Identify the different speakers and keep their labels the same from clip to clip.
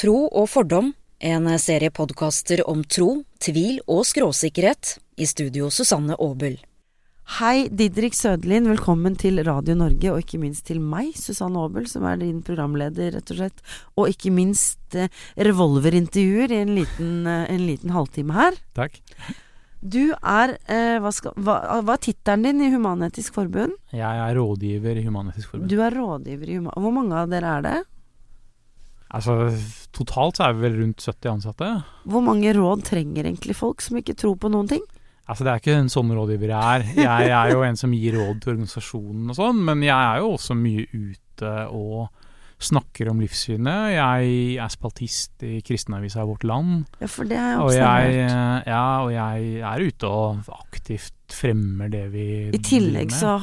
Speaker 1: Tro og fordom, en serie podkaster om tro, tvil og skråsikkerhet, i studio Susanne Aabel.
Speaker 2: Hei, Didrik Sødelin. Velkommen til Radio Norge, og ikke minst til meg, Susanne Aabel, som er din programleder, rett og slett. Og ikke minst eh, revolverintervjuer i en liten, eh, en liten halvtime her.
Speaker 3: Takk.
Speaker 2: Du er eh, Hva, skal, hva, hva er tittelen din i Human-Etisk Forbund?
Speaker 3: Jeg er rådgiver i Human-Etisk Forbund.
Speaker 2: Du er rådgiver i Human... Hvor mange av dere er det?
Speaker 3: Altså, totalt så er vi vel rundt 70 ansatte.
Speaker 2: Hvor mange råd trenger egentlig folk som ikke tror på noen ting?
Speaker 3: Altså, det er ikke en sånn rådgiver jeg er. Jeg er jo en som gir råd til organisasjonen og sånn, men jeg er jo også mye ute og snakker om livssynet. Jeg er spaltist i kristenavisa Vårt Land,
Speaker 2: Ja, for det har jeg
Speaker 3: og jeg,
Speaker 2: observert.
Speaker 3: ja, og jeg er ute og aktivt fremmer det vi
Speaker 2: I tillegg så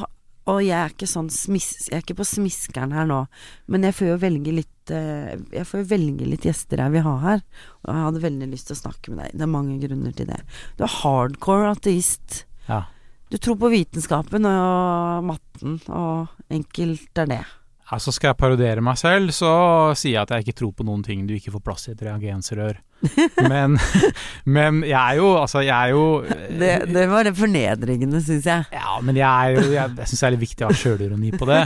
Speaker 2: Og jeg er ikke sånn smis, Jeg er ikke på smiskeren her nå, men jeg får jo velge litt eh, Jeg får jo velge litt gjester jeg vil ha her. Og jeg hadde veldig lyst til å snakke med deg. Det er mange grunner til det. Du er hardcore ateist.
Speaker 3: Ja.
Speaker 2: Du tror på vitenskapen og matten, og enkelt er det.
Speaker 3: Ja, så skal jeg parodiere meg selv, så sier jeg at jeg ikke tror på noen ting du ikke får plass i et reagensrør. Men, men jeg er jo Altså, jeg er jo
Speaker 2: Det, det var det fornedringende, syns jeg.
Speaker 3: Ja, men jeg, er jo, jeg, jeg syns det er litt viktig å ha sjølironi på det.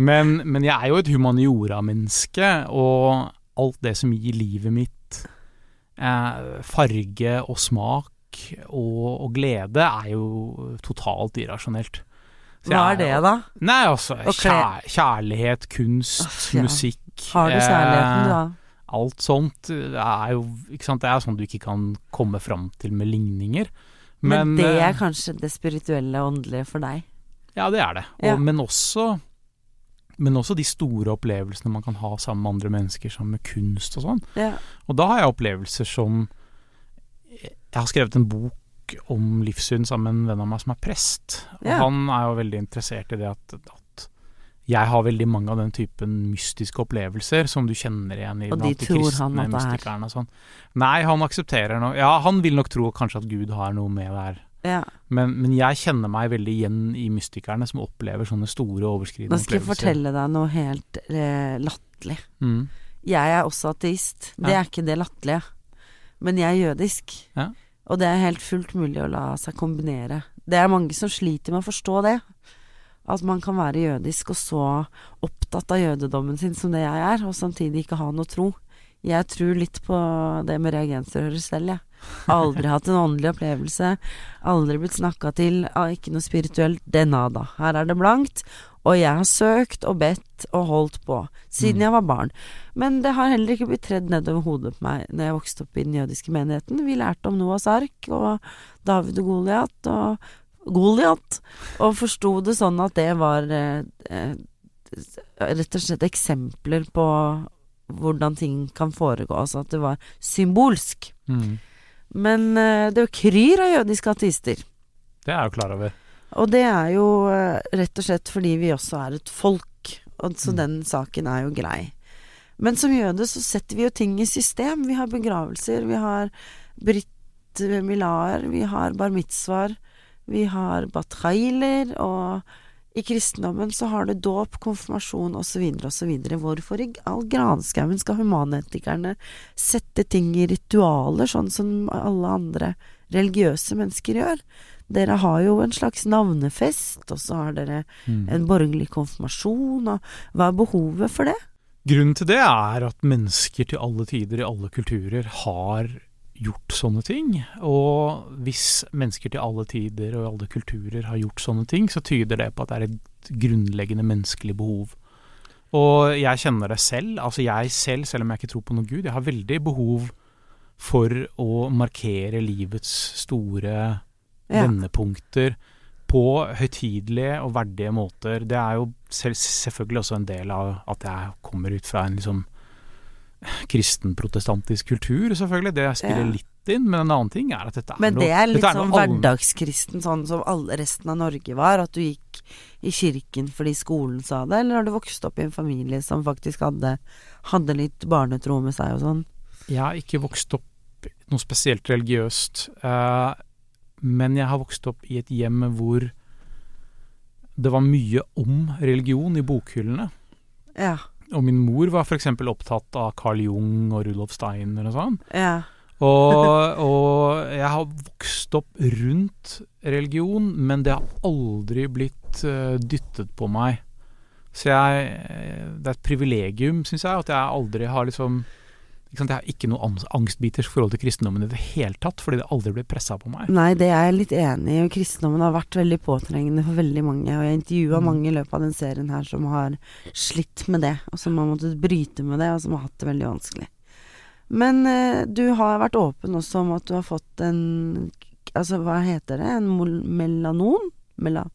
Speaker 3: Men, men jeg er jo et humaniora-menneske, og alt det som gir livet mitt eh, farge og smak og, og glede, er jo totalt irrasjonelt. Så
Speaker 2: Hva
Speaker 3: jeg
Speaker 2: er det,
Speaker 3: jo-
Speaker 2: da?
Speaker 3: Nei, altså
Speaker 2: Og kle-
Speaker 3: kjær, kjærlighet, kunst,
Speaker 2: Uff, ja.
Speaker 3: musikk.
Speaker 2: Har du kjærligheten, du,
Speaker 3: eh,
Speaker 2: da?
Speaker 3: Alt sånt eh, er jo ikke sant, Det er sånn du ikke kan komme fram til med ligninger.
Speaker 2: Men, det
Speaker 3: eh,
Speaker 2: er kanskje det spirituelle og åndelige for deg.
Speaker 3: Ja, det er det. Og,
Speaker 2: Ja.
Speaker 3: men, også, men også de store opplevelsene man kan ha sammen med andre mennesker, sammen med kunst og sånn.
Speaker 2: Ja.
Speaker 3: Og da har jeg opplevelser som Jeg har skrevet en bok om livssyn sammen med en venn av meg som er prest. Og
Speaker 2: Ja.
Speaker 3: han er jo veldig interessert i det at, at jeg har veldig mange av den typen mystiske opplevelser som du kjenner igjen i
Speaker 2: Og
Speaker 3: blant
Speaker 2: de tror han
Speaker 3: kristne
Speaker 2: at det er.
Speaker 3: mystikerne og sånn. Nei, han aksepterer noe Ja, han vil nok tro kanskje at Gud har noe med det her
Speaker 2: ja.
Speaker 3: men, men jeg kjenner meg veldig igjen i mystikerne som opplever sånne store overskridende
Speaker 2: Nå skal jeg fortelle deg noe helt eh, latterlig.
Speaker 3: Mm.
Speaker 2: Jeg er også ateist. Det
Speaker 3: Ja.
Speaker 2: er ikke det latterlige. Men jeg er jødisk.
Speaker 3: Ja.
Speaker 2: Og det er helt fullt mulig å la seg kombinere. Det er mange som sliter med å forstå det. At man kan være jødisk og så opptatt av jødedommen sin som det jeg er, og samtidig ikke ha noe tro. Jeg tror litt på det med reagensrøret selv, jeg. Aldri hatt en åndelig opplevelse. Aldri blitt snakka til. ah, Ikke noe spirituelt. Det er nada. Her er det blankt. Og jeg har søkt og bedt og holdt på. Siden
Speaker 3: Mm.
Speaker 2: jeg var barn. Men det har heller ikke blitt tredd nedover hodet på meg når jeg vokste opp i den jødiske menigheten. Vi lærte om Noahs ark og David og Goliat og Goliat, og forsto det sånn at det var eh, eh, rett og slett eksempler på hvordan ting kan foregå. Altså at det var symbolsk.
Speaker 3: Mm.
Speaker 2: Men eh, det er jo kryr av jødiske ateister.
Speaker 3: Det er jeg jo klar over.
Speaker 2: Og det er jo eh, rett og slett fordi vi også er et folk, og så
Speaker 3: Mm.
Speaker 2: den saken er jo grei. Men som jøde så setter vi jo ting i system. Vi har begravelser, vi har Britt Milaer, vi har bar mitzvaer, vi har batrailer, og i kristendommen så har du dåp, konfirmasjon osv. osv. Hvorfor i all granskauen skal humanetikerne sette ting i ritualer, sånn som alle andre religiøse mennesker gjør? Dere har jo en slags navnefest, og så har dere
Speaker 3: Mm.
Speaker 2: en borgerlig konfirmasjon, og hva er behovet for det?
Speaker 3: Grunnen til det er at mennesker til alle tider i alle kulturer har gjort sånne ting. Og hvis mennesker til alle tider og i alle kulturer har gjort sånne ting, så tyder det på at det er et grunnleggende menneskelig behov. Og jeg kjenner det selv. Altså jeg selv, selv om jeg ikke tror på noen gud, jeg har veldig behov for å markere livets store
Speaker 2: Ja.
Speaker 3: vendepunkter på høytidelige og verdige måter. Det er jo selv, selvfølgelig også en del av at jeg kommer ut fra en liksom kristen-protestantisk kultur, selvfølgelig. Det spiller
Speaker 2: Ja.
Speaker 3: litt inn, men en annen ting er at dette er
Speaker 2: Men
Speaker 3: noe
Speaker 2: det er litt
Speaker 3: dette
Speaker 2: sånn
Speaker 3: noe all-
Speaker 2: hverdagskristen, sånn som all resten av Norge var, at du gikk i kirken fordi skolen sa det, eller har du vokst opp i en familie som faktisk hadde, hadde litt barnetro med seg og sånn?
Speaker 3: Jeg har ikke vokst opp noe spesielt religiøst, eh, men jeg har vokst opp i et hjem hvor det var mye om religion i bokhyllene.
Speaker 2: Ja.
Speaker 3: Og min mor var f.eks. opptatt av Carl Jung og Rudolf Steiner og sånn.
Speaker 2: Ja.
Speaker 3: Og, og jeg har vokst opp rundt religion, men det har aldri blitt eh, dyttet på meg. Så jeg eh, Det er et privilegium, syns jeg, at jeg aldri har liksom ikke sant, Jeg har ikke noe ans- angstbiters forhold til kristendommen i det hele tatt, fordi det aldri ble pressa på meg.
Speaker 2: Nei, det er jeg litt enig i. og Kristendommen har vært veldig påtrengende for veldig mange. Og jeg intervjua
Speaker 3: Mm.
Speaker 2: mange i løpet av den serien her som har slitt med det, og som har måttet bryte med det, og som har hatt det veldig vanskelig. Men eh, du har vært åpen også om at du har fått en Altså, hva heter det? En mol- melanon? Mela...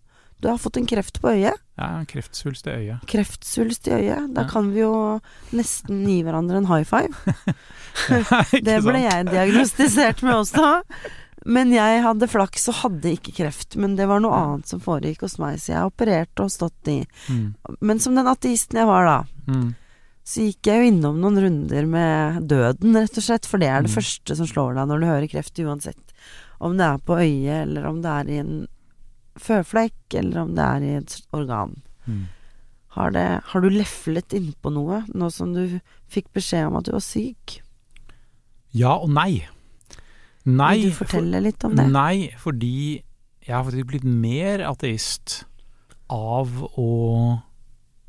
Speaker 2: Du har fått en kreft på øyet.
Speaker 3: Jeg har en kreftsvulst i øyet.
Speaker 2: Kreftsvulst i øyet. Da
Speaker 3: Ja.
Speaker 2: kan vi jo nesten gi hverandre en high five.
Speaker 3: Ikke
Speaker 2: Det ble
Speaker 3: sant?
Speaker 2: jeg diagnostisert med også. Men jeg hadde flaks og hadde ikke kreft. Men det var noe annet som foregikk hos meg, så jeg opererte og stått i.
Speaker 3: Mm,
Speaker 2: Men som den ateisten jeg var da,
Speaker 3: mm,
Speaker 2: så gikk jeg jo innom noen runder med døden, rett og slett. For det er det
Speaker 3: Mm.
Speaker 2: første som slår deg når du hører kreft, uansett om det er på øyet, eller om det er i en føflekk, eller om det er i et organ.
Speaker 3: mm.
Speaker 2: Har, det, har du leflet innpå noe, nå som du fikk beskjed om at du var syk?
Speaker 3: Ja og nei. Nei,
Speaker 2: Vil du
Speaker 3: for-
Speaker 2: fortelle litt om det?
Speaker 3: Nei, fordi jeg har faktisk blitt mer ateist av å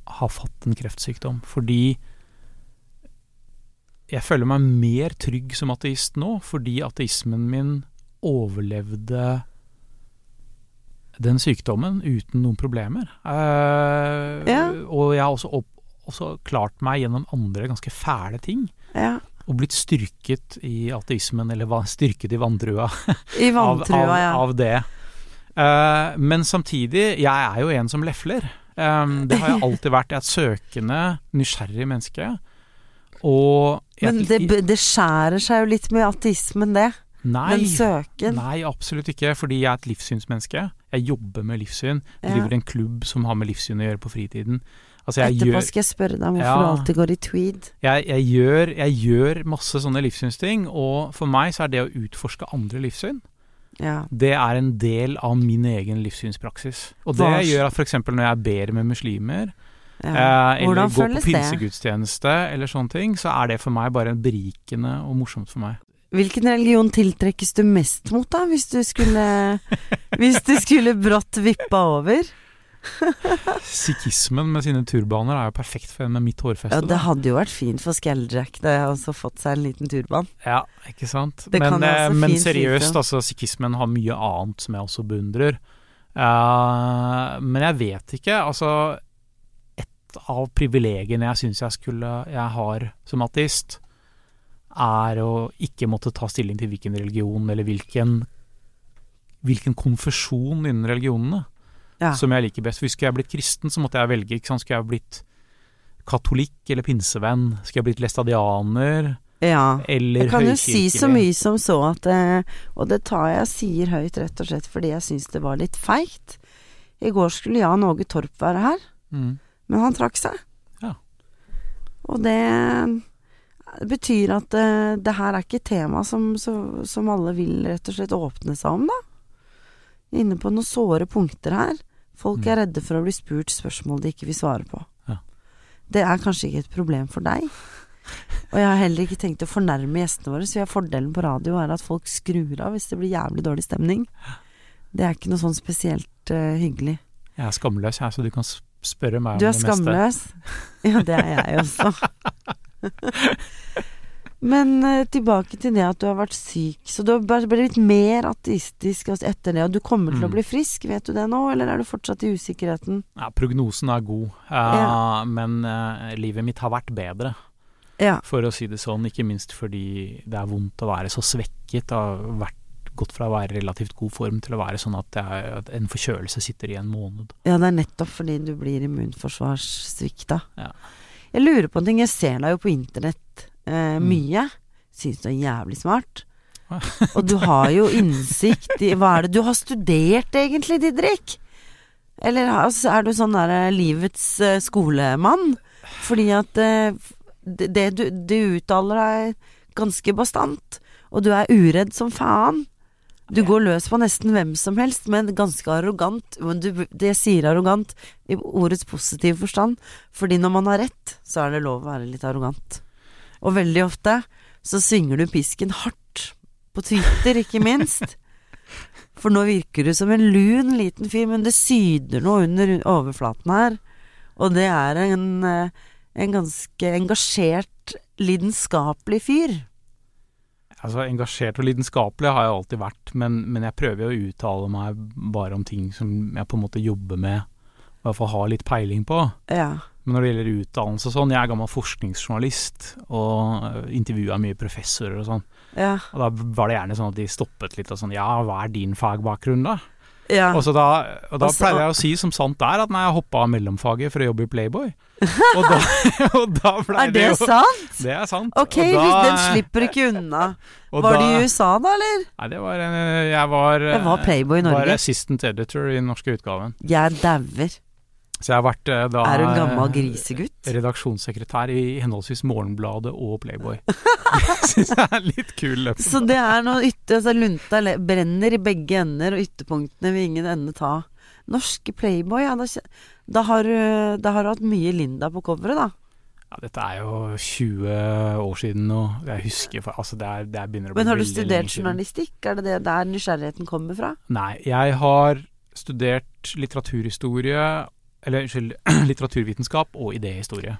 Speaker 3: ha fått en kreftsykdom. Fordi jeg føler meg mer trygg som ateist nå, fordi ateismen min overlevde den sykdommen uten noen problemer. Eh,
Speaker 2: Ja.
Speaker 3: Og jeg har også, opp, også klart meg gjennom andre ganske fæle ting.
Speaker 2: Ja.
Speaker 3: Og blitt styrket i ateismen, eller va- styrket i vantrua
Speaker 2: I
Speaker 3: av,
Speaker 2: vantrua,
Speaker 3: av,
Speaker 2: ja.
Speaker 3: av det. Eh, men samtidig, jeg er jo en som lefler. Eh, det har jeg alltid vært. Jeg er et søkende, nysgjerrig menneske. Og jeg-
Speaker 2: Men det, det skjærer seg jo litt med ateismen, det.
Speaker 3: nei,
Speaker 2: Den søken.
Speaker 3: nei, absolutt ikke. Fordi jeg er et livssynsmenneske. Jeg jobber med livssyn.
Speaker 2: Ja.
Speaker 3: Driver en klubb som har med livssyn å gjøre på fritiden. Altså, jeg
Speaker 2: Etterpå
Speaker 3: gjør,
Speaker 2: skal jeg spørre deg om hvorfor
Speaker 3: Ja.
Speaker 2: du alltid går i tweed.
Speaker 3: jeg, jeg, gjør, jeg gjør masse sånne livssynsting, og for meg så er det å utforske andre livssyn
Speaker 2: Ja.
Speaker 3: Det er en del av min egen livssynspraksis. Og det
Speaker 2: Hva s-
Speaker 3: gjør at f.eks. når jeg ber med muslimer,
Speaker 2: ja.
Speaker 3: eh,
Speaker 2: Hvordan
Speaker 3: eller går på
Speaker 2: føles det?
Speaker 3: pinsegudstjeneste eller sånne ting, så er det for meg bare berikende og morsomt for meg.
Speaker 2: Hvilken religion tiltrekkes du mest mot, da, hvis du skulle Hvis du skulle brått vippa over?
Speaker 3: Sikhismen med sine turbaner er jo perfekt for en med mitt hårfeste.
Speaker 2: Ja, det
Speaker 3: da.
Speaker 2: hadde jo vært fint for Skelljack det har også fått seg en liten turban.
Speaker 3: ja, ikke sant?
Speaker 2: Det kan
Speaker 3: Men,
Speaker 2: jeg
Speaker 3: eh,
Speaker 2: også
Speaker 3: men
Speaker 2: fint
Speaker 3: seriøst,
Speaker 2: vite.
Speaker 3: altså, sikhismen har mye annet som jeg også beundrer. Eh, men jeg vet ikke. Altså, et av privilegiene jeg syns jeg skulle Jeg har som ateist, er å ikke måtte ta stilling til hvilken religion eller hvilken Hvilken konfesjon innen religionene
Speaker 2: Ja.
Speaker 3: som jeg liker best. For Skulle jeg blitt kristen, så måtte jeg velge. Ikke sant? Skulle jeg blitt katolikk eller pinsevenn? Skulle jeg blitt lestadianer?
Speaker 2: ja.
Speaker 3: Eller
Speaker 2: Jeg kan jo si
Speaker 3: høykirkelig.
Speaker 2: så mye som så at eh, Og det tar jeg og sier høyt, rett og slett fordi jeg syns det var litt feigt. I går skulle Jan Åge Torp være her.
Speaker 3: Mm.
Speaker 2: Men han trakk seg.
Speaker 3: Ja.
Speaker 2: Og det betyr at eh, det her er ikke et tema som, så- som alle vil rett og slett åpne seg om, da. Inne på noen såre punkter her. Folk er redde for å bli spurt spørsmål de ikke vil svare på.
Speaker 3: Mm. Ja.
Speaker 2: Det er kanskje ikke et problem for deg. Og jeg har heller ikke tenkt å fornærme gjestene våre, så jeg fordelen på radio er at folk skrur av hvis det blir jævlig dårlig stemning. Det er ikke noe sånn spesielt eh, hyggelig.
Speaker 3: Jeg er skamløs, jeg, så du kan s- spørre meg om
Speaker 2: Du er
Speaker 3: det meste.
Speaker 2: skamløs. Ja, det er jeg også. Men eh, tilbake til det at du har vært syk. Så du har bare blitt mer ateistisk altså, etter det. Og du kommer til å
Speaker 3: Mm.
Speaker 2: bli frisk, vet du det nå, eller er du fortsatt i usikkerheten?
Speaker 3: Ja, prognosen er god, eh,
Speaker 2: Ja.
Speaker 3: men eh, livet mitt har vært bedre,
Speaker 2: Ja.
Speaker 3: for å si det sånn. Ikke minst fordi det er vondt å være så svekket. Jeg har vært, gått fra å være i relativt god form til å være sånn at, jeg, at en forkjølelse sitter i en måned.
Speaker 2: Ja, det er nettopp fordi du blir immunforsvarssvikta.
Speaker 3: Ja.
Speaker 2: Jeg lurer på en ting. Jeg ser deg jo på internett eh,
Speaker 3: Mm.
Speaker 2: mye. Syns du er jævlig smart.
Speaker 3: Ah.
Speaker 2: Og du har jo innsikt i Hva er det du har studert egentlig, Didrik? Eller har- altså, er du sånn derre livets eh, skolemann? Fordi at eh, det, det du, du uttaler deg ganske bastant, og du er uredd som faen. Du går løs på nesten hvem som helst, men ganske arrogant. Men du, det sier arrogant i ordets positive forstand, fordi når man har rett, så er det lov å være litt arrogant. Og veldig ofte så svinger du pisken hardt. På Twitter, ikke minst. For nå virker du som en lun liten fyr, men det syder noe under overflaten her. Og det er en, eh, en ganske engasjert, lidenskapelig fyr.
Speaker 3: Altså, engasjert og lidenskapelig har jeg alltid vært, men, men jeg prøver jo å uttale meg bare om ting som jeg på en måte jobber med, og i hvert fall har litt peiling på.
Speaker 2: Ja.
Speaker 3: Men når det gjelder utdannelse og sånn, jeg er gammel forskningsjournalist og intervjua mye professorer og sånn,
Speaker 2: Ja.
Speaker 3: og da var det gjerne sånn at de stoppet litt og sånn Ja, hva er din fagbakgrunn, da?
Speaker 2: ja.
Speaker 3: Og, så da, og da
Speaker 2: Og så-
Speaker 3: pleier jeg å si som sant er at nei, jeg hoppa av mellomfaget for å jobbe i Playboy. Og da, og da blei
Speaker 2: Er
Speaker 3: det
Speaker 2: det
Speaker 3: jo
Speaker 2: sant?
Speaker 3: Det er sant.
Speaker 2: Ok,
Speaker 3: og da,
Speaker 2: den slipper ikke unna.
Speaker 3: og
Speaker 2: Var
Speaker 3: da,
Speaker 2: det i USA da, eller?
Speaker 3: Nei, det var en Jeg var, eh,
Speaker 2: Jeg var Playboy i
Speaker 3: var
Speaker 2: Norge.
Speaker 3: assistant editor i den norske utgaven.
Speaker 2: Jeg dauer.
Speaker 3: Så jeg har vært eh, da
Speaker 2: Er du en gammel grisegutt?
Speaker 3: Redaksjonssekretær i henholdsvis Morgenbladet og Playboy. Det syns jeg er litt kul.
Speaker 2: Så det er noe ytter, altså lunta le- brenner i begge ender, og ytterpunktene vil ingen ende ta. Norske Playboy, ja. Da, kje- da, har, du- da har du hatt mye Linda på coveret, da.
Speaker 3: Ja, dette er jo 20 år siden nå. Jeg husker for, Altså, det, er, det begynner å bli
Speaker 2: Men har du
Speaker 3: veldig
Speaker 2: studert
Speaker 3: lenge siden.
Speaker 2: journalistikk? Er det det der nysgjerrigheten kommer fra?
Speaker 3: Nei, jeg har studert litteraturhistorie Eller unnskyld, litteraturvitenskap og idéhistorie.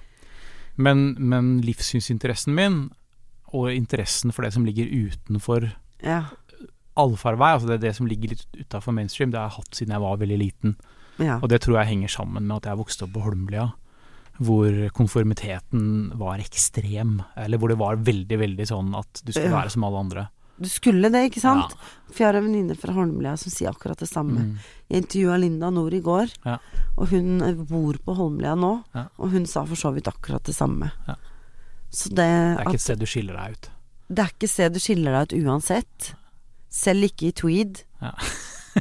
Speaker 3: Men, men livssynsinteressen min, og interessen for det som ligger utenfor
Speaker 2: Ja.
Speaker 3: allfarvei, altså det, er det som ligger litt utafor mainstream, det har jeg hatt siden jeg var veldig liten.
Speaker 2: ja.
Speaker 3: Og det tror jeg henger sammen med at jeg vokste opp på Holmlia, hvor konformiteten var ekstrem. Eller hvor det var veldig, veldig sånn at du skulle
Speaker 2: Ja.
Speaker 3: være som alle andre.
Speaker 2: Du skulle det, ikke sant? For jeg har en venninne fra Holmlia som sier akkurat det
Speaker 3: Ja.
Speaker 2: samme.
Speaker 3: Mm.
Speaker 2: Jeg intervjua Linda Nord i går,
Speaker 3: Ja.
Speaker 2: og hun eh, bor på Holmlia nå.
Speaker 3: Ja.
Speaker 2: Og hun sa for så vidt akkurat det samme.
Speaker 3: Ja.
Speaker 2: Så det,
Speaker 3: Det er
Speaker 2: at
Speaker 3: ikke et sted du skiller deg ut.
Speaker 2: det er ikke sted du skiller deg ut uansett. Selv ikke i tweed.
Speaker 3: Ja.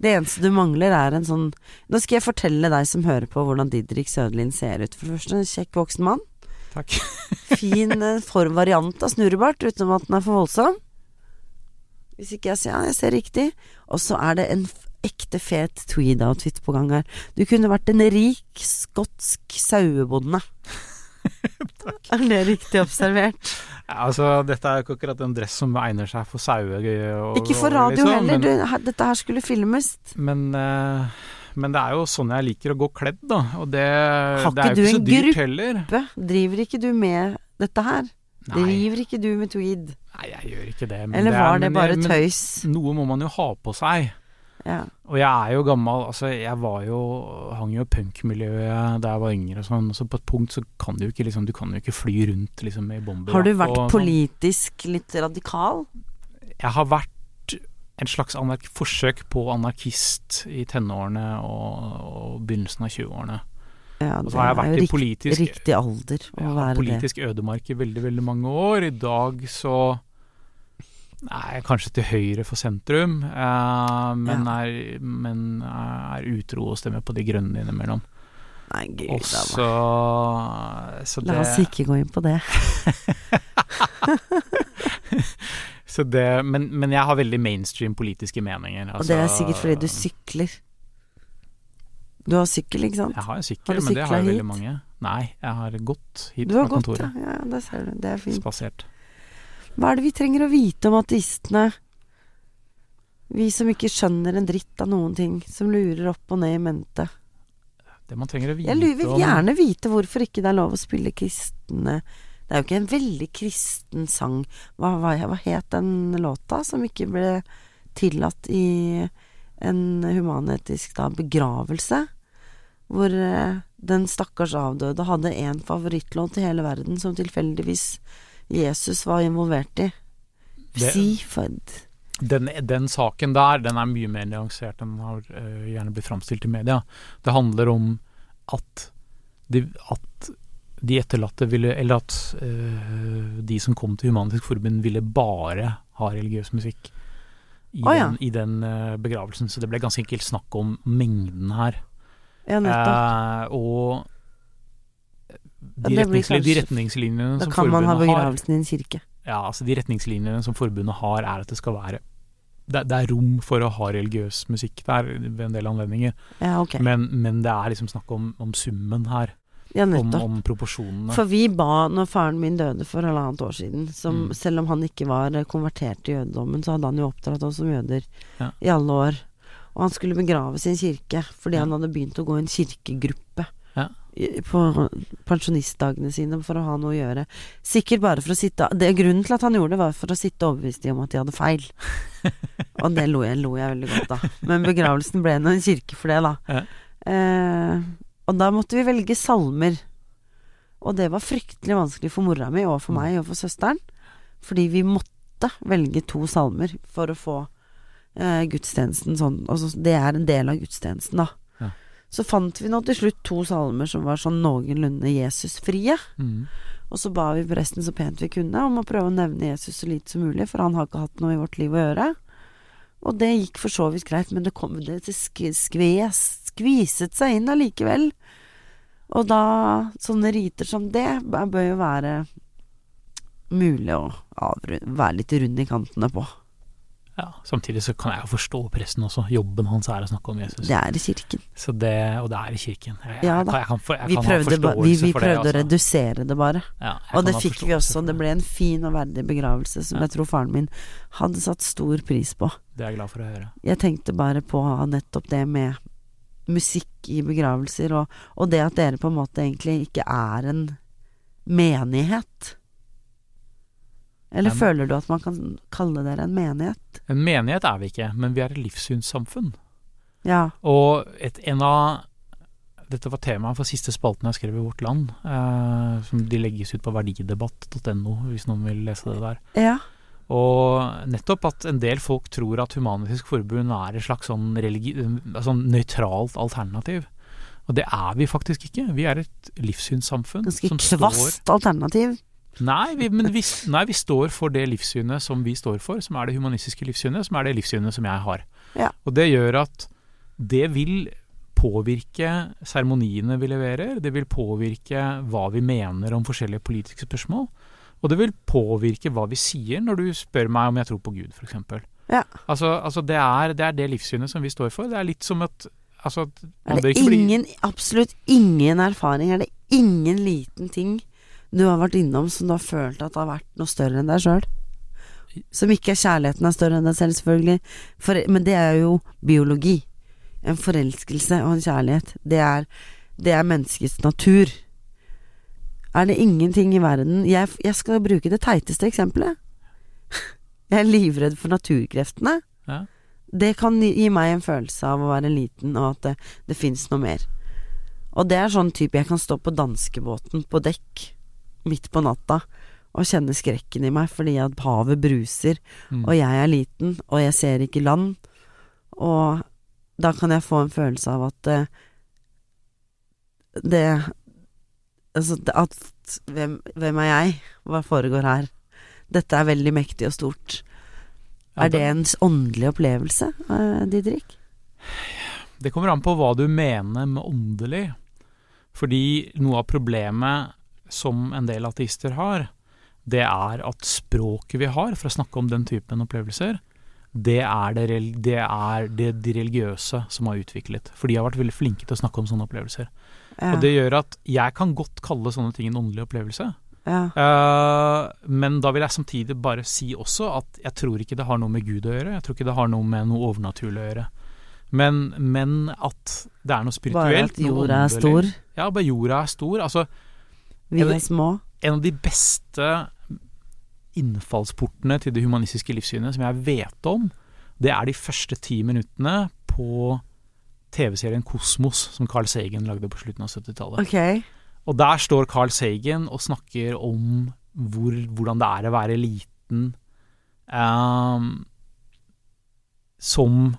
Speaker 2: det eneste du mangler, er en sånn Nå skal jeg fortelle deg som hører på, hvordan Didrik Søderlind ser ut. For det første, en kjekk voksen mann.
Speaker 3: Takk.
Speaker 2: Fin eh, for variant av snurrebart, utenom at den er for voldsom. Hvis ikke jeg ser, ja, jeg ser riktig. Og så er det en f- ekte fet tweed-outfit på gang her. Du kunne vært en rik skotsk sauebonde. Er det riktig observert?
Speaker 3: Ja, altså, dette er jo ikke akkurat en dress som egner seg for sauer.
Speaker 2: Ikke for radio heller.
Speaker 3: liksom, Men,
Speaker 2: Du, her- dette her skulle filmes.
Speaker 3: men, eh, men det er jo sånn jeg liker å gå kledd, da. Og det,
Speaker 2: Har
Speaker 3: det er
Speaker 2: ikke
Speaker 3: jo
Speaker 2: du
Speaker 3: ikke så
Speaker 2: en
Speaker 3: dyrt
Speaker 2: gruppe?
Speaker 3: heller.
Speaker 2: Bø, driver ikke du med dette her?
Speaker 3: Nei,
Speaker 2: Driver ikke du med tweed?
Speaker 3: nei, jeg gjør ikke det. men
Speaker 2: Eller
Speaker 3: er-
Speaker 2: var det
Speaker 3: men-
Speaker 2: bare
Speaker 3: men
Speaker 2: tøys?
Speaker 3: Noe må man jo ha på seg.
Speaker 2: Ja.
Speaker 3: Og jeg er jo gammel, altså jeg var jo, hang jo i punkmiljøet da jeg var yngre og sånn, så på et punkt så kan du jo ikke liksom, du kan jo ikke fly rundt liksom i bomber.
Speaker 2: Har du vært
Speaker 3: og sånn.
Speaker 2: politisk litt radikal?
Speaker 3: Jeg har vært en slags anark forsøk på anarkist i tenårene og, og begynnelsen av 20-årene.
Speaker 2: Ja,
Speaker 3: Og
Speaker 2: det
Speaker 3: så har jeg
Speaker 2: er
Speaker 3: vært
Speaker 2: jo
Speaker 3: i
Speaker 2: rikt-
Speaker 3: politisk,
Speaker 2: riktig alder å
Speaker 3: ja,
Speaker 2: være det.
Speaker 3: politisk ødemark i veldig, veldig mange år. I dag så Nei, kanskje til høyre for sentrum, eh, men, er, men er utro og stemmer på De grønne innimellom.
Speaker 2: Nei, gud
Speaker 3: Og
Speaker 2: da,
Speaker 3: så, så
Speaker 2: La oss
Speaker 3: det,
Speaker 2: ikke gå inn på det.
Speaker 3: så det men, men jeg har veldig mainstream politiske meninger.
Speaker 2: Og det er
Speaker 3: altså-
Speaker 2: sikkert fordi du sykler. Du har sykkel, ikke sant?
Speaker 3: Jeg har jo
Speaker 2: Har
Speaker 3: sykkel,
Speaker 2: du
Speaker 3: men det har
Speaker 2: syklet
Speaker 3: jo
Speaker 2: hit?
Speaker 3: veldig mange. Nei, jeg har gått hit
Speaker 2: Du
Speaker 3: fra
Speaker 2: har gått, ja.
Speaker 3: kontoret.
Speaker 2: ja. Det ser du. Det er fint.
Speaker 3: Spasert.
Speaker 2: Hva er det vi trenger å vite om ateistene? Vi som ikke skjønner en dritt av noen ting, som lurer opp og ned i mente.
Speaker 3: Det man trenger å vite
Speaker 2: Jeg lurer- vil
Speaker 3: om
Speaker 2: gjerne vite hvorfor ikke det er lov å spille kristne Det er jo ikke en veldig kristen sang. Hva, hva, hva het den låta som ikke ble tillatt i en humanetisk da, begravelse? Hvor eh, den stakkars avdøde hadde én favorittlåt i hele verden som tilfeldigvis Jesus var involvert i.
Speaker 3: Det-
Speaker 2: Seafood.
Speaker 3: den, den saken der, den er mye mer nyansert enn den har eh, gjerne blitt framstilt i media. Det handler om at de, at de etterlatte ville Eller at eh, de som kom til Humanitisk Forbund, ville bare ha religiøs musikk i
Speaker 2: Å, ja.
Speaker 3: den, i den eh, begravelsen. Så det ble ganske enkelt snakk om mengden her.
Speaker 2: Ja, nettopp.
Speaker 3: Eh, og de,
Speaker 2: Ja, det blir
Speaker 3: retningslin- de
Speaker 2: kanskje-
Speaker 3: retningslinjene
Speaker 2: da
Speaker 3: som
Speaker 2: kan man ha
Speaker 3: forbundet har
Speaker 2: begravelsen i en kirke.
Speaker 3: ja, altså de retningslinjene som forbundet har, er at det skal være det, det er rom for å ha religiøs musikk der ved en del anledninger,
Speaker 2: Ja, ok.
Speaker 3: men, men det er liksom snakk om, om summen her.
Speaker 2: Ja,
Speaker 3: Om,
Speaker 2: nettopp.
Speaker 3: om proporsjonene.
Speaker 2: For vi ba, når faren min døde for halvannet år siden som,
Speaker 3: Mm.
Speaker 2: Selv om han ikke var eh, konvertert til jødedommen, så hadde han jo oppdratt oss som jøder
Speaker 3: Ja.
Speaker 2: i alle år. Og han skulle begraves i en kirke fordi
Speaker 3: Ja.
Speaker 2: han hadde begynt å gå i en kirkegruppe
Speaker 3: Ja.
Speaker 2: i- på pensjonistdagene sine for å ha noe å gjøre. Sikkert bare for å sitte det, Grunnen til at han gjorde det, var for å sitte overbevist i om at de hadde feil. Og det lo jeg, lo jeg veldig godt av. Men begravelsen ble nå en kirke for det, da.
Speaker 3: Ja.
Speaker 2: Eh, og da måtte vi velge salmer. Og det var fryktelig vanskelig for mora mi og for
Speaker 3: Mm.
Speaker 2: meg og for søsteren. Fordi vi måtte velge to salmer for å få eh, gudstjenesten sånn. Altså, det er en del av gudstjenesten, da.
Speaker 3: Ja.
Speaker 2: Så fant vi nå til slutt to salmer som var sånn noenlunde Jesusfrie.
Speaker 3: Mm.
Speaker 2: Og så ba vi presten så pent vi kunne om å prøve å nevne Jesus så lite som mulig, for han har ikke hatt noe i vårt liv å gjøre. Og det gikk for så vidt greit, men det kom det til sk skves, skviset seg inn allikevel. Og da sånne riter som det b- bør jo være mulig å avru- være litt rund i kantene på.
Speaker 3: Ja, samtidig så kan jeg jo forstå presten også. Jobben hans er å snakke om Jesus.
Speaker 2: Det er i kirken.
Speaker 3: Så det, og det er i kirken. Jeg, jeg,
Speaker 2: Ja da.
Speaker 3: kan, jeg kan, for, jeg
Speaker 2: Vi
Speaker 3: kan ha
Speaker 2: prøvde, ba-
Speaker 3: forståelse
Speaker 2: vi, vi
Speaker 3: for det.
Speaker 2: prøvde å
Speaker 3: altså.
Speaker 2: redusere det bare.
Speaker 3: Ja,
Speaker 2: Og
Speaker 3: jeg kan
Speaker 2: det
Speaker 3: ha
Speaker 2: fikk vi
Speaker 3: forståelse
Speaker 2: også.
Speaker 3: for
Speaker 2: Det ble en fin og verdig begravelse som
Speaker 3: Ja.
Speaker 2: jeg tror faren min hadde satt stor pris på.
Speaker 3: Det er jeg glad for å høre.
Speaker 2: Jeg tenkte bare på nettopp det med musikk i begravelser, og, og det at dere på en måte egentlig ikke er en menighet. Eller
Speaker 3: Nei, men-
Speaker 2: føler du at man kan kalle dere en menighet?
Speaker 3: En menighet er vi ikke, men vi er et livssynssamfunn.
Speaker 2: Ja.
Speaker 3: Og et, en av Dette var temaet for siste spalten jeg skrev i Vårt Land. Eh, som de legges ut på verdidebatt.no, hvis noen vil lese det der.
Speaker 2: Ja.
Speaker 3: Og nettopp at en del folk tror at Human-Etisk Forbund er et slags sånn, religi altså nøytralt alternativ. Og det er vi faktisk ikke. Vi er et livssynssamfunn
Speaker 2: Ganske
Speaker 3: som står
Speaker 2: kvast alternativ.
Speaker 3: nei vi, men vi, s- nei, vi står for det livssynet som vi står for, som er det humanistiske livssynet, som er det livssynet som jeg har.
Speaker 2: Ja.
Speaker 3: Og det gjør at det vil påvirke seremoniene vi leverer, det vil påvirke hva vi mener om forskjellige politiske spørsmål, og det vil påvirke hva vi sier når du spør meg om jeg tror på Gud, f.eks.
Speaker 2: Ja.
Speaker 3: Altså, altså det, er, det er det livssynet som vi står for. Det er litt som at altså, at man
Speaker 2: Er
Speaker 3: bør
Speaker 2: det
Speaker 3: ikke bli-
Speaker 2: ingen, absolutt ingen erfaring, er det ingen liten ting du har vært innom som du har følt at har vært noe større enn deg sjøl? Som ikke er kjærligheten er større enn deg selv, selvfølgelig, For, men det er jo biologi. En forelskelse og en kjærlighet. Det er, det er menneskets natur. Er det ingenting i verden Jeg, jeg skal bruke det teiteste eksempelet. Jeg er livredd for naturkreftene.
Speaker 3: Ja.
Speaker 2: Det kan gi gi meg en følelse av å være liten, og at det, det fins noe mer. Og det er sånn type jeg kan stå på danskebåten på dekk midt på natta og kjenne skrekken i meg fordi at havet bruser,
Speaker 3: Mm.
Speaker 2: og jeg er liten, og jeg ser ikke land. Og da kan jeg få en følelse av at eh, det Altså at hvem, hvem er jeg? Hva foregår her? Dette er veldig mektig og stort.
Speaker 3: Ja,
Speaker 2: Er det en s- åndelig opplevelse, eh, Didrik?
Speaker 3: Det kommer an på hva du mener med åndelig. Fordi noe av problemet som en del ateister har, det er at språket vi har for å snakke om den typen opplevelser, det er det, rel- det, er det de religiøse som har utviklet. For de har vært veldig flinke til å snakke om sånne opplevelser.
Speaker 2: Ja.
Speaker 3: Og det gjør at jeg kan godt kalle sånne ting en åndelig opplevelse.
Speaker 2: ja.
Speaker 3: Eh, men da vil jeg samtidig bare si også at jeg tror ikke det har noe med Gud å gjøre. Jeg tror ikke det har noe med noe overnaturlig å gjøre. Men, men at det er noe
Speaker 2: Bare
Speaker 3: spirituelt.
Speaker 2: at
Speaker 3: noe
Speaker 2: jorda er
Speaker 3: åndelig.
Speaker 2: stor,
Speaker 3: Ja, bare jorda er stor. Altså,
Speaker 2: vi
Speaker 3: Ja, det-
Speaker 2: er små.
Speaker 3: en av de beste innfallsportene til det humanistiske livssynet som jeg vet om, det er de første ti minuttene på TV-serien Kosmos, som Carl Sagen lagde på slutten av 70-tallet.
Speaker 2: Ok.
Speaker 3: Og der står Carl Sagen og snakker om hvor, hvordan det er å være liten ehm, som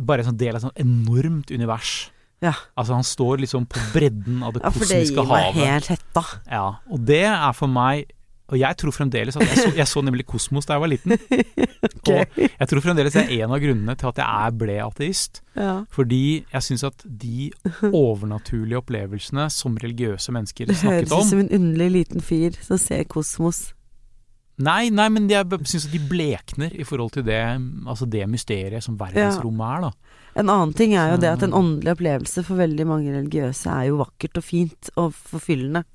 Speaker 3: bare en sånn del av et sånt enormt univers.
Speaker 2: Ja.
Speaker 3: Altså han står liksom på bredden av det
Speaker 2: Ja, for det
Speaker 3: kosmiske
Speaker 2: gir meg
Speaker 3: havet.
Speaker 2: helt hetta.
Speaker 3: Ja, og det er for meg Og jeg tror fremdeles at jeg så, jeg så nemlig Kosmos da jeg var liten. Og jeg tror fremdeles det er en av grunnene til at jeg er- ble ateist.
Speaker 2: Ja.
Speaker 3: Fordi jeg syns at de overnaturlige opplevelsene som religiøse mennesker
Speaker 2: Det høres
Speaker 3: snakket
Speaker 2: ut
Speaker 3: om
Speaker 2: som en underlig liten fyr som ser kosmos.
Speaker 3: Nei, nei, men jeg syns at de blekner i forhold til det, altså det mysteriet som verdensrommet er, da.
Speaker 2: En annen ting er jo det at en åndelig opplevelse for veldig mange religiøse er jo vakkert og fint og forfyllende.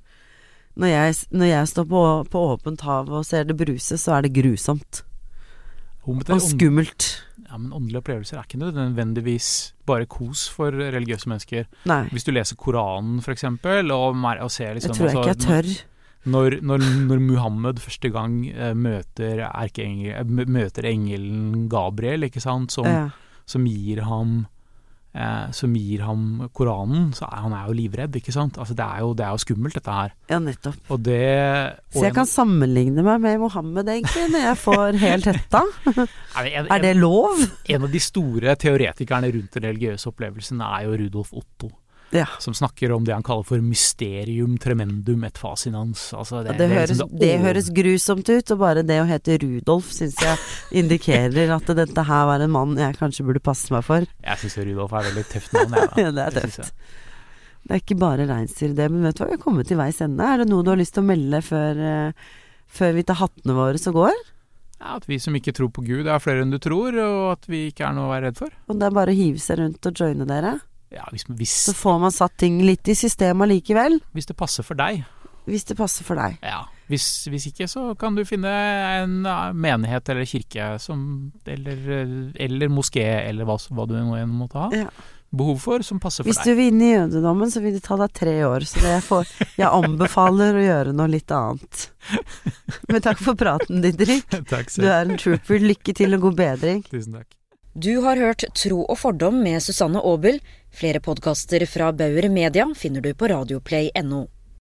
Speaker 2: Når jeg, når jeg står på, på åpent hav og ser det bruse, så er det grusomt
Speaker 3: Og med det
Speaker 2: og
Speaker 3: ånd-
Speaker 2: skummelt.
Speaker 3: ja, men åndelige opplevelser er ikke nødvendigvis bare kos for religiøse mennesker.
Speaker 2: Nei,
Speaker 3: Hvis du leser Koranen, for eksempel, og, mer- og ser
Speaker 2: jeg
Speaker 3: liksom
Speaker 2: tror jeg ikke jeg
Speaker 3: altså,
Speaker 2: tør.
Speaker 3: Når, når, når Muhammed første gang eh, møter, erkeengel, eh, mø- møter engelen Gabriel, ikke sant, som,
Speaker 2: Ja.
Speaker 3: som gir ham eh, som gir ham Koranen, så er han er jo livredd, ikke sant. Altså, det, er jo, det er jo skummelt, dette her.
Speaker 2: ja, nettopp.
Speaker 3: Og det
Speaker 2: Så jeg kan sammenligne meg med Mohammed, egentlig, når jeg får helt hetta.
Speaker 3: en, en,
Speaker 2: Er det lov?
Speaker 3: en av de store teoretikerne rundt den religiøse opplevelsen er jo Rudolf Otto,
Speaker 2: Ja.
Speaker 3: som snakker om det han kaller for mysterium tremendum et fascinans. Altså, det,
Speaker 2: Det
Speaker 3: er
Speaker 2: høres,
Speaker 3: liksom
Speaker 2: det
Speaker 3: over-
Speaker 2: høres grusomt ut, og bare det å hete Rudolf syns jeg indikerer at dette her var en mann jeg kanskje burde passe meg for.
Speaker 3: Jeg syns Rudolf er veldig tøft navn, jeg. da.
Speaker 2: Ja, det er
Speaker 3: synes jeg.
Speaker 2: Det er ikke bare reinsdyr det, men vet du hva, vi har kommet til veis ende. Er det noe du har lyst til å melde før, eh, før vi tar hattene våre så går?
Speaker 3: Ja, at vi som ikke tror på Gud, er flere enn du tror, og at vi ikke er noe å være redd for.
Speaker 2: Og det er bare å hive seg rundt og joine dere?
Speaker 3: Ja, hvis, hvis,
Speaker 2: Så får man satt ting litt i systemet likevel,
Speaker 3: hvis det passer for deg.
Speaker 2: hvis det passer for deg.
Speaker 3: Ja. Hvis, hvis ikke, så kan du finne en ja, menighet eller kirke som Eller, eller moské, eller hva, hva du nå enn måtte ha
Speaker 2: Ja.
Speaker 3: behov for, som passer for
Speaker 2: Hvis
Speaker 3: deg.
Speaker 2: du vil inn i jødedommen, så vil det ta deg tre år, så det jeg, får, jeg anbefaler å gjøre noe litt annet. Men takk for praten, Didrik.
Speaker 3: Takk
Speaker 2: Du er en trooper. Lykke til og god bedring.
Speaker 3: Tusen takk.
Speaker 1: Du har hørt Tro og fordom med Susanne Aabel. Flere podkaster fra Bauer Media finner du på radioplay.no.